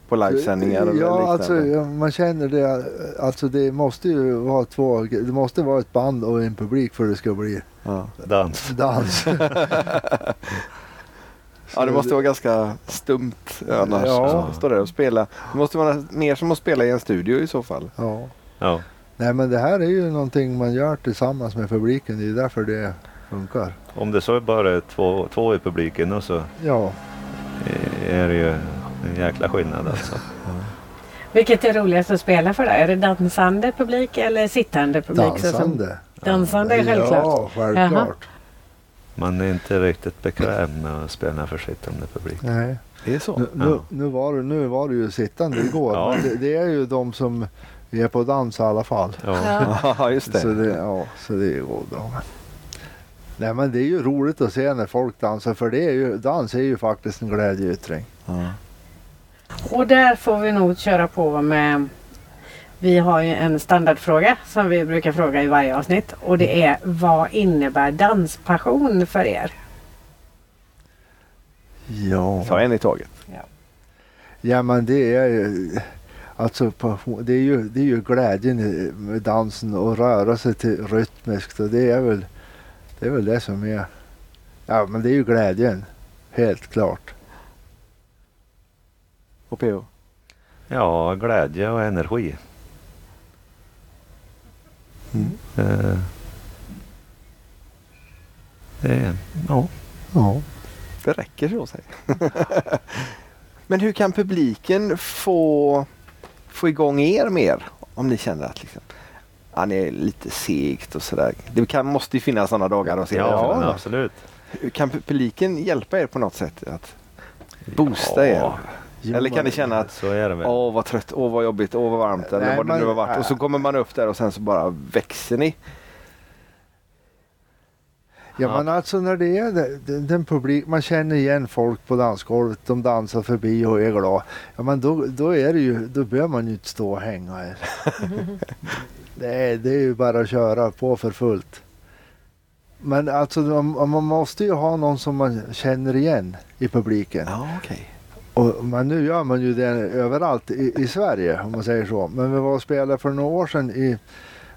S2: på livesändningar och
S4: Ja, alltså,
S2: liknande.
S4: ja, man känner det. Alltså det måste ju vara två, det måste vara ett band och en publik för det ska bli
S2: Ja.
S3: Dans.
S4: dans.
S2: ja, det måste vara ganska stumt annars.
S4: Ja.
S2: Ja. Stå där och spela. Det måste vara mer som att spela i en studio i så fall.
S4: Ja.
S3: Ja.
S4: Nej men det här är ju någonting man gör tillsammans med publiken. Det är därför det funkar.
S3: Om det så är bara två, två i publiken och så
S4: Ja,
S3: är det ju en jäkla skillnad alltså.
S1: Vilket är roligast att spela för dig? Är det dansande publik eller sittande publik? Så som-
S4: dansande.
S1: Dansande är självklart.
S4: Ja, självklart.
S3: Man är inte riktigt bekväm med att spela för sittande publik.
S4: Nej.
S2: Det är så.
S4: Nu, nu,
S3: Ja.
S4: nu, var det, nu var det ju sittande igår.
S3: Ja.
S4: Men det, det är ju de som är på dans i alla fall.
S3: Ja.
S1: Ja.
S2: Ja, just
S4: Så
S2: det.
S4: det, ja, så det går bra. men. Nej men det är ju roligt att se när folk dansar för det är ju, dans är ju faktiskt en glädjeyttring.
S2: Ja.
S1: Och där får vi nog köra på med... Vi har ju en standardfråga som vi brukar fråga i varje avsnitt och det är vad innebär danspassion för er?
S4: Ja.
S2: Ta en i taget.
S4: Ja men det är ju, alltså passion, det är ju, det är ju glädjen i- med dansen och röra sig till rytmiskt och det är väl det, är väl det som är, ja men det är ju glädjen. Helt klart.
S2: Och PO.
S3: ja, glädje och energi.
S4: Mm.
S3: Eh, Det är, ja.
S4: Ja.
S2: Det räcker så säger jag. Men hur kan publiken få, få igång er mer? Om ni känner att liksom, han är lite segt och sådär. Det kan, måste ju finnas sådana dagar och serier.
S3: ja, men absolut.
S2: Hur Kan publiken hjälpa er på något sätt? Att boosta
S3: Ja,
S2: er? Eller kan ni känna att
S3: Så är det väl.
S2: Åh vad trött, åh vad jobbigt, åh vad varmt eller
S4: Nej,
S2: vad det nu
S4: men-
S2: har varit. Och så kommer man upp där och sen så bara växer ni.
S4: Ja, men alltså när det är det- den, den publik, man känner igen folk på dansgolvet, de dansar förbi och är glada. Ja, men då, då är det ju, då behöver man ju inte stå och hänga. här. det, är, det är ju bara att köra på för fullt. Men alltså man, man måste ju ha någon som man känner igen i publiken.
S2: Ja okej.
S4: Och, men nu gör man ju det överallt i, i Sverige om man säger så. Men vi var och spelade för några år sedan i,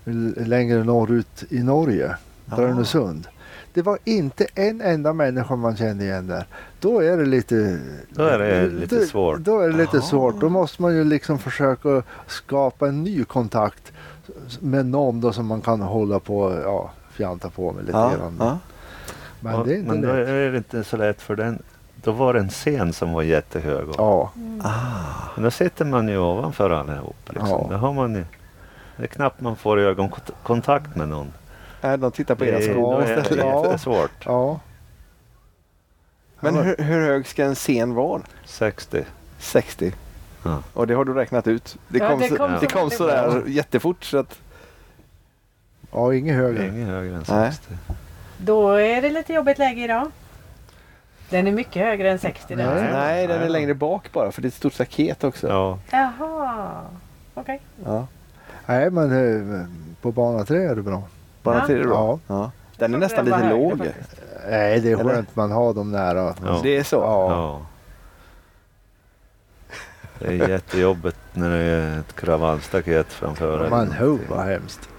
S4: l- längre norrut i Norge,
S2: Ah.
S4: Drönesund. Det var inte en enda människa man kände igen där. Då är det lite...
S3: Då är det lite svårt.
S4: Då är det lite
S2: Ah.
S4: svårt. Då måste man ju liksom försöka skapa en ny kontakt med någon då som man kan hålla på och ja, fjanta på med lite
S2: Ja,
S4: grann.
S2: ja.
S4: Men det är inte
S3: men då
S4: lätt.
S3: är det inte så lätt för den. Då var det en scen som var jättehög. Och,
S4: Ja,
S3: Men då sitter man ju ovanför allihop. Liksom.
S4: Ja.
S3: Då har man ju, det är knappt man får ögonkontakt med någon.
S2: Äh, de tittar på era
S3: Det-
S2: skor
S3: då är det
S2: istället.
S3: jättesvårt.
S4: ja.
S2: Men hur, hur hög ska en scen vara?
S3: 60.
S2: 60.
S3: Ja.
S2: Och det har du räknat ut. Det
S1: Ja,
S2: kom,
S1: det
S2: så,
S1: kom
S2: det
S1: så-
S2: kom sådär jättefort. Så att,
S4: ja inget
S3: Det är
S4: högre.
S3: inget högre än
S2: Nej.
S3: 60.
S1: Då är det lite jobbigt läge idag. Den är mycket högre än 60 där.
S2: nej,
S3: Nej.
S2: den är
S3: Nej.
S2: längre bak bara för det är ett stort staket också.
S3: Ja.
S1: Jaha, okej.
S2: Ja.
S4: Nej, men eh, på bana tre är det bra.
S2: Bara
S1: Ja.
S2: till det då.
S4: Ja.
S2: Ja. Den är
S1: Jag
S2: nästan
S1: trodde
S2: lite
S1: den var
S2: låg.
S1: högre faktiskt.
S4: Nej, det är
S2: Eller?
S4: skönt man har dem nära.
S3: Ja.
S2: Det är så?
S4: Ja.
S3: Ja. Det är jättejobbigt när det är ett kravallstaket framför en.
S4: Man hör vad hemskt.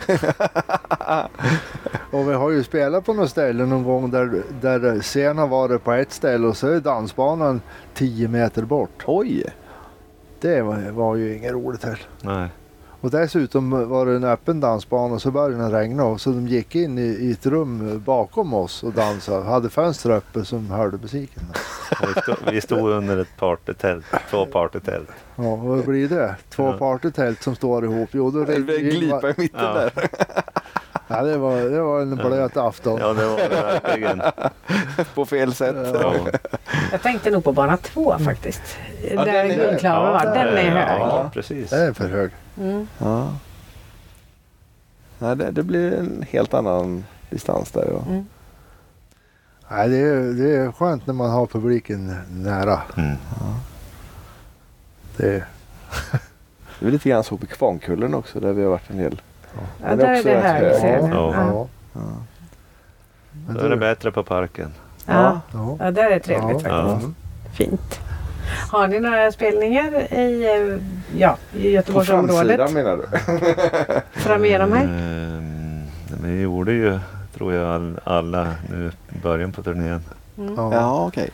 S4: och vi har ju spelat på något ställe någon gång där, där scenen har varit på ett ställe och så är dansbanan 10 meter bort.
S2: Oj!
S4: Det var, var ju inget roligt heller.
S3: Nej.
S4: Och dessutom var det en öppen dansbana och så började det regna och så de gick in i, i ett rum bakom oss och dansade. Hade fönster uppe som hörde musiken.
S3: Vi stod, vi stod under ett partytält. Två partytält.
S4: Ja, och vad blir det? Två
S3: Ja.
S4: partytält som står ihop. Jo, då
S2: Det är en glipa i mitten
S3: Ja.
S2: där.
S4: Ja, det, var, det var en blöt afton.
S3: Ja, det var det verkligen.
S2: På fel sätt.
S3: Ja.
S1: Jag tänkte nog på bana två faktiskt.
S2: den
S1: där
S2: är hög.
S1: guldklaven var.
S4: Ja,
S1: Den är hög.
S3: Ja, precis.
S4: Det är för hög.
S1: Mm.
S2: Ja. Nej, det, det blir en helt annan distans där. Ja.
S1: Mm.
S4: Nej, det, är, det är skönt när man har publiken nära.
S3: Mm.
S4: Det är,
S2: Det är lite grann så på Kvarnkullen också där vi har varit en del.
S1: Ja,
S2: Den är
S1: där är
S2: också
S1: det
S2: rätt
S1: hög
S2: hög.
S1: scen.
S3: Ja.
S1: Ja.
S4: ja. Men
S3: Då är det
S4: då-
S3: bättre på parken.
S1: Ja.
S4: ja.
S1: ja, där är trevligt
S4: Ja.
S1: faktiskt. Fint. Har ni några spelningar i, eh, ja, i
S2: På framsidan
S1: Göteborgsområdet?
S2: menar du?
S1: Fram igenom här?
S3: Ehm, Vi gjorde ju, tror jag, all, alla nu i början på turnén.
S4: Ja.
S5: Ja, okej.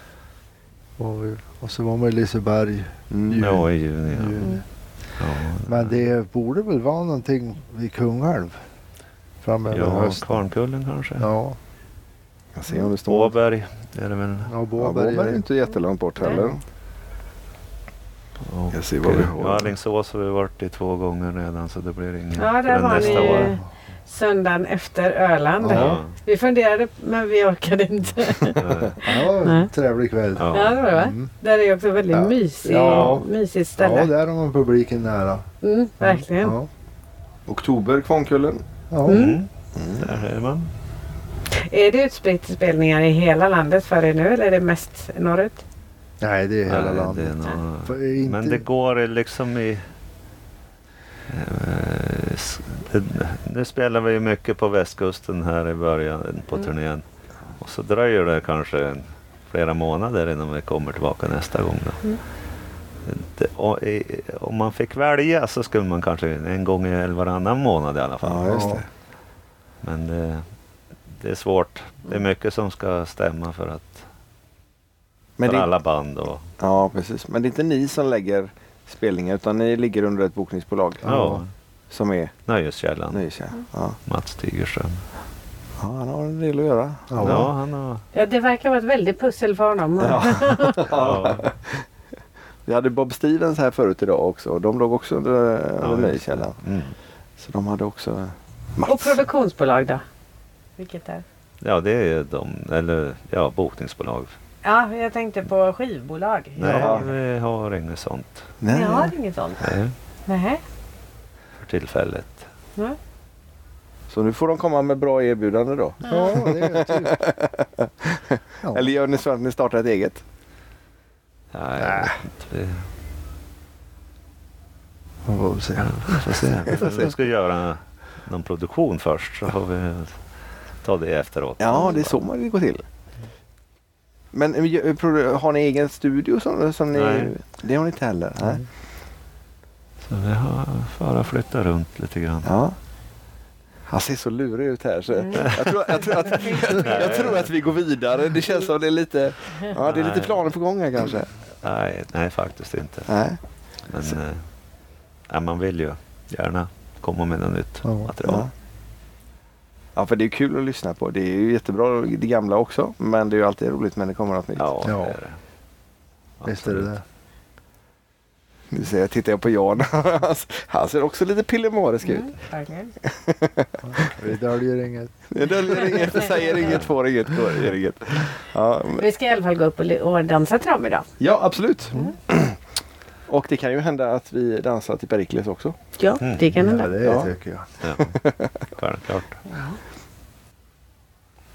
S4: Och, vi- och så var man i Liseberg.
S5: Mm.
S3: Ja, i juni.
S4: i
S3: Ja.
S1: Mm.
S4: juni.
S3: Ja.
S4: Men det borde väl vara någonting vid Kungälv framöver
S3: Ja,
S4: hösten.
S3: Kvarnkullen kanske.
S4: Ja,
S2: Jag ser om det står.
S3: Åberg är det väl.
S4: ja
S2: Ja,
S4: Båberg.
S2: Vårberg är
S4: Ja,
S2: inte jättelångt bort heller.
S3: Och,
S2: Jag ser vad vi har.
S3: Ja, Alingsås har vi varit i två gånger redan så det blir inget
S1: Ja, där
S3: förrän
S1: var
S3: nästa
S1: ni
S3: år.
S1: söndagen efter Öland.
S3: Ja.
S1: Vi funderade men vi orkade inte.
S4: det var en
S1: Nej.
S4: trevlig kväll.
S3: Ja.
S1: Ja, det var det va?
S4: Mm.
S1: Där är också väldigt
S4: Ja.
S1: mysig,
S4: Ja.
S1: mysigt
S4: Ja,
S1: ställe.
S4: där har man publiken nära.
S1: Mm, verkligen.
S4: Ja.
S2: Oktober, Kvarnkullen.
S4: Ja.
S3: Mm. Där är man.
S1: Är det utspritt spelningar i hela landet för er nu eller är det mest norrut?
S4: Nej, det är hela
S3: Nej,
S4: landet.
S3: det är nog-
S4: För inte...
S3: Men det går liksom i... eh, s- det- Nu spelar vi ju mycket på västkusten här i början på turnén. Och så dröjer det kanske en- flera månader innan vi kommer tillbaka nästa gång. Då. Det, och, i, om man fick välja så skulle man kanske en gång i varannan månad i alla fall.
S2: Ja, just det.
S3: Men det, det är svårt. Det är mycket som ska stämma för, att,
S5: Men,
S3: för
S5: det,
S3: alla band. Och,
S2: Ja, precis. Men det är inte ni som lägger spelningar utan ni ligger under ett bokningsbolag
S3: ja,
S2: som är
S3: Nöjeskällan,
S2: Nykärr. Ja.
S3: Mats Tigerström.
S2: ja, han har en del att göra.
S4: Ja.
S3: Ja, han har...
S1: Ja, det verkar vara ett väldigt pussel för honom.
S3: Ja.
S2: Vi hade Bob Stevens här förut idag också och de låg också under, under
S3: just det.
S2: Nöjeskällan.
S3: Mm.
S2: Så de hade också
S1: Och
S2: Mats.
S1: produktionsbolag då? Vilket är?
S3: Ja, det är de, eller ja, bokningsbolag.
S1: Ja, jag tänkte på skivbolag.
S3: Nej,
S2: Ja.
S3: vi har inget sånt
S1: Ni
S2: Nej.
S1: har inget sånt?
S3: Nej,
S1: Nej.
S3: för tillfället.
S1: Nej.
S2: Så nu får de komma med bra erbjudande då.
S4: Ja, det är typ. Ja.
S2: Eller gör ni så att ni startar ett eget?
S3: Nej, jag vet inte. vi
S4: Man får väl se.
S3: får se. Vi ska göra någon produktion först så får vi ta det efteråt.
S2: Ja, det är så man det går till. Men eh, gör- pro- har ni egen studio som, som ni...
S3: Nej. Mm.
S2: Det har ni inte heller? Nej.
S3: Så vi har bara flyttat runt lite grann.
S2: Ja. Han ser så lurig ut här så jag, tror, jag, tror att, jag tror att vi går vidare. Det känns som det är lite, ja, det är lite
S3: Nej.
S2: planer på gång här kanske.
S3: Nej, nej, faktiskt inte.
S2: Nej.
S3: Men eh, ja, man vill ju gärna komma med något nytt
S4: Ja.
S3: material.
S2: Ja, för det är kul att lyssna på. Det är ju jättebra det gamla också, men det är ju alltid roligt när det kommer något nytt.
S3: Ja,
S4: Ja.
S3: det är det.
S4: Visst är det
S3: Absolut.
S4: det.
S2: Nu ser jag, tittar jag på Jan. Han- Han ser också lite pillemarisk ut.
S1: Mm, Verkligen.
S4: Vi döljer inget.
S2: Det döljer inget, säger inget, får inget, gör inget. Ja, men-
S1: Vi ska i alla fall gå upp och, li- och dansa tram idag.
S2: ja, absolut. Och det kan ju hända att vi dansar till Perikles också.
S1: Ja,
S3: Mm.
S1: det kan
S4: Ja,
S1: hända.
S4: det
S2: Ja.
S4: tycker jag.
S3: Ja, självklart.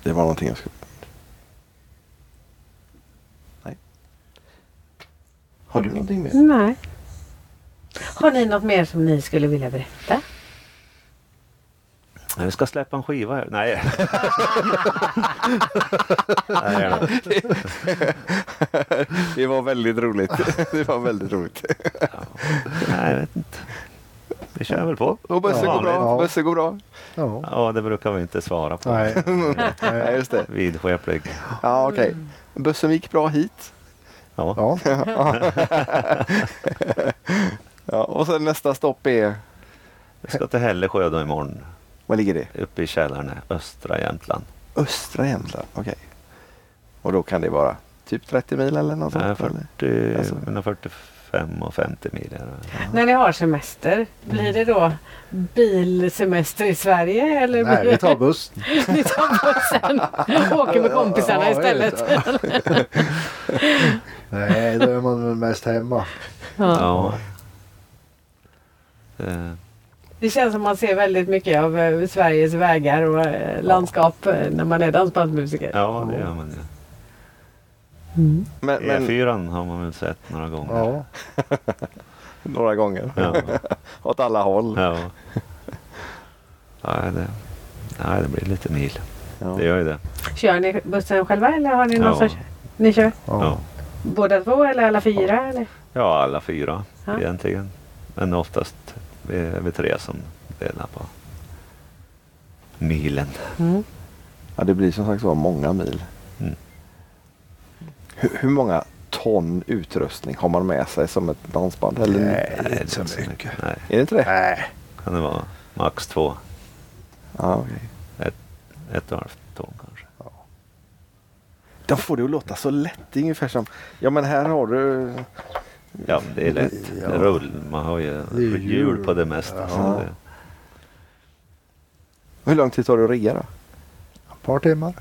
S2: Det var någonting jag skulle... Nej. Har du någonting mer?
S1: Nej. Har ni något mer som ni skulle vilja berätta?
S3: Nej, Vi ska släppa en skiva här. Nej. Nej, nej.
S2: Det var väldigt roligt. Det var väldigt roligt.
S3: Nej, jag vet inte. Vi kör väl på.
S2: Och Bösse
S3: Ja,
S2: går bra.
S4: ja.
S2: Bösse går bra.
S4: Ja.
S3: Ja, det brukar vi inte svara på.
S4: Nej.
S2: Ja, just det.
S3: Vidskeplig.
S2: Ja, okej. Bössen gick bra hit.
S3: Ja.
S4: Ja.
S2: Ja, och sen nästa stopp är...
S3: Vi ska till Hällesjö då imorgon.
S2: Var ligger det?
S3: Uppe i källaren i östra Jämtland.
S2: Östra Jämtland. Okej. Och då kan det vara typ 30 mil eller något
S3: Nej,
S2: sånt? eller?
S3: 40,
S2: Alltså.
S3: Eh, mellan 45 och 50 mil. Är det.
S1: När ni har semester, blir det då bilsemester i Sverige? Eller
S4: Nej,
S1: blir
S4: vi tar bussen.
S1: ni tar bussen och åker med kompisarna
S4: Ja,
S1: istället?
S4: jag vet. Nej, då är man väl mest hemma.
S1: Ja.
S3: Ja. Eh,
S1: Det känns som man ser väldigt mycket av eh, Sveriges vägar och eh, landskap eh, när man är dansbandsmusiker.
S3: Ja, det gör man ju.
S2: Men, men
S3: E4 har man väl sett några gånger.
S4: Ja.
S2: några gånger.
S3: Ja.
S2: Åt alla håll.
S3: Ja. Nej, det, nej, det blir lite mil.
S2: Ja.
S3: Det gör ju det.
S1: Kör ni bussen själva eller har ni någon
S3: Ja.
S1: som kör? Ni kör?
S4: Ja.
S3: Ja.
S1: Båda två eller alla fyra? Eller?
S3: Ja, alla fyra
S1: Ja.
S3: egentligen. Men oftast är vi tre som delar på milen.
S2: Ja, det blir som sagt var många mil.
S3: Mm.
S2: Hur, hur många ton utrustning har man med sig som ett dansband? Eller,
S4: Nej, det är inte
S3: inte
S4: så mycket.
S3: Nej,
S2: Är det inte det?
S4: Nej,
S3: kan det vara max två,
S2: Ja, okej.
S3: ett och ett halvt ton kanske.
S2: De får det att låta så lätt. Det är ungefär som, ja men här har du...
S3: Ja, men det är lätt.
S4: Ja.
S3: Det Rull. Man har ju
S4: Det är ju
S3: hjul på det mesta.
S4: Ja.
S3: Så det,
S2: Hur lång tid tar det att rigga då?
S4: ett par timmar.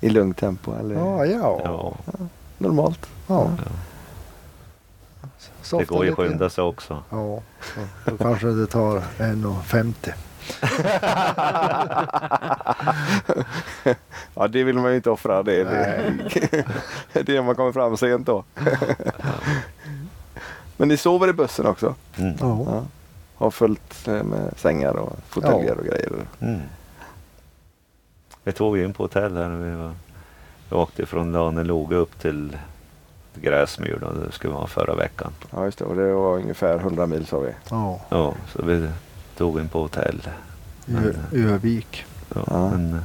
S2: I lugnt tempo eller
S4: Ja, ja.
S3: ja,
S2: normalt?
S4: ja.
S3: det
S4: Softa
S3: går ju att
S4: lite.
S3: skynda sig också.
S4: Ja, så då kanske det tar 1,50.
S2: Ja, det vill man ju inte offra. Det är
S4: Nej.
S2: det, det är när man kommer fram sent då. Men ni sover i bussen också?
S3: Mm.
S4: Ja.
S2: Ja. Har följt eh, med sängar och fåtöljer och grejer?
S3: Mm. Vi tog ju in på hotell här. när Vi, var, vi åkte från Laneloge upp till Gräsmyr. Då. Det skulle vara förra veckan.
S2: Ja, just det. Och det var ungefär 100 mil sa vi.
S4: ja.
S3: Ja, så vi tog in på hotell.
S4: Ö- Övik.
S3: Ja,
S2: Ja.
S3: Men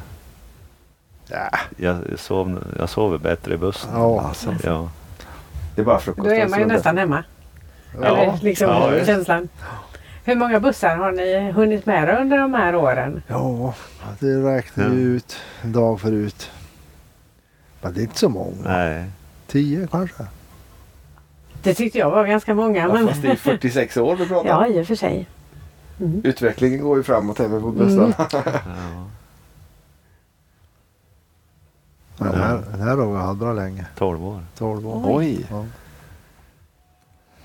S4: Ja.
S3: jag, sov, jag sover bättre i bussen.
S4: Ja.
S3: Ja.
S2: Det är bara frukost. alltså.
S1: Då är man ju
S2: som
S1: nästan hemma. Eller liksom
S3: Ja, visst.
S1: känslan. Hur många bussar har ni hunnit med under de här åren?
S4: ja, det räknade vi
S3: Ja.
S4: ut en dag förut. Men det är inte så många.
S3: Nej.
S4: Tio kanske.
S1: Det tyckte jag var ganska många.
S2: Ja,
S1: Men...
S2: fast det är 46 år vi pratar.
S1: Ja, i och för sig.
S2: Utvecklingen går ju framåt även på bussarna.
S1: Mm.
S3: Ja.
S4: Men den, här, den här har vi andra länge.
S3: 12 år.
S4: 12 år.
S2: Oj,
S4: Ja.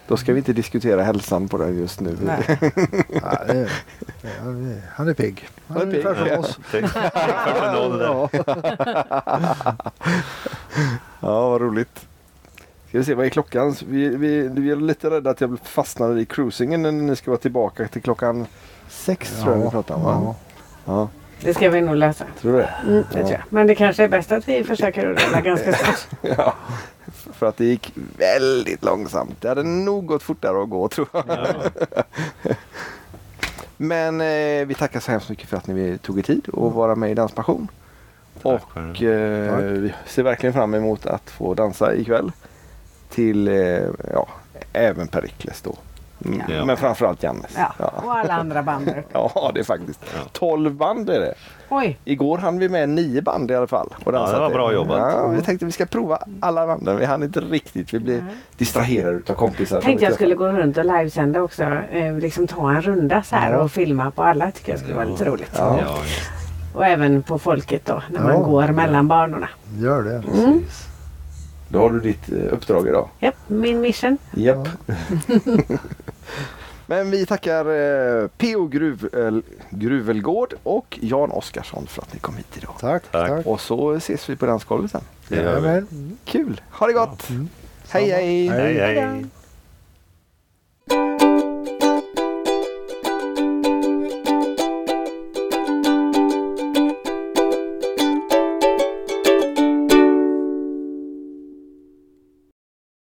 S2: då ska vi inte diskutera hälsan på det just nu.
S1: Nej.
S4: Ja, det är, det är, han är pigg. Han är
S2: Han är pigg,
S4: ungefär som
S2: ja.
S4: oss.
S3: Tänk- tänk vad någon det där.
S4: Ja.
S2: Ja, vad roligt. Ska vi se, vad är klockan? Vi, vi, vi är lite rädda att jag fastnade i cruisingen när ni ska vara tillbaka till klockan sex tror jag vi pratar om.
S4: Ja.
S2: va? Ja,
S1: Det ska vi nog lösa.
S2: tror du det?
S1: Mm, det tror jag. Men det kanske är bäst att vi försöker att rulla ganska snart.
S2: Ja. För att det gick väldigt långsamt. Det hade nog gått fortare att gå tror jag.
S3: Ja.
S2: Men eh, vi tackar så hemskt mycket för att ni tog er tid att vara med i Danspassion. Och
S3: Tack själv.
S2: eh,
S4: Tack.
S2: vi ser verkligen fram emot att få dansa ikväll. Till, eh, ja, även Perikles då. Mm.
S3: Ja.
S2: Men framförallt Jannes.
S1: Ja. Och alla andra band.
S2: Ja, det är faktiskt.
S3: Ja.
S2: 12 band är det.
S1: Oj,
S2: Igår hann vi med nio band i alla fall. Och
S3: det
S2: dansat
S3: var bra jobbat. Mm.
S2: Ja, vi tänkte vi ska prova alla banden. Vi hann inte riktigt. Vi blev distraherade utav kompisar. som
S1: tänkte
S2: vi
S1: jag skulle gå runt och livesända också. Eh, liksom ta en runda så här och filma på alla. Tycker jag skulle vara lite roligt.
S2: Ja.
S3: Ja, just
S1: Och även på folket då, när man
S4: Ja.
S1: går mellan banorna.
S4: Gör det.
S3: precis.
S2: träffade. Då har du ditt eh, uppdrag idag.
S1: Japp, min mission.
S2: Japp. Men vi tackar eh, P.O. Gruvel, eh, Gruvelgård och Jan Oskarsson för att ni kom hit idag.
S4: Tack.
S3: Tack.
S4: tack.
S2: Och så ses vi på dansgolvet sen.
S3: Det gör vi.
S4: Jajamän.
S2: Kul! Ha det gott! Hej hej!
S4: Hej.
S3: Mm. Hej, hej.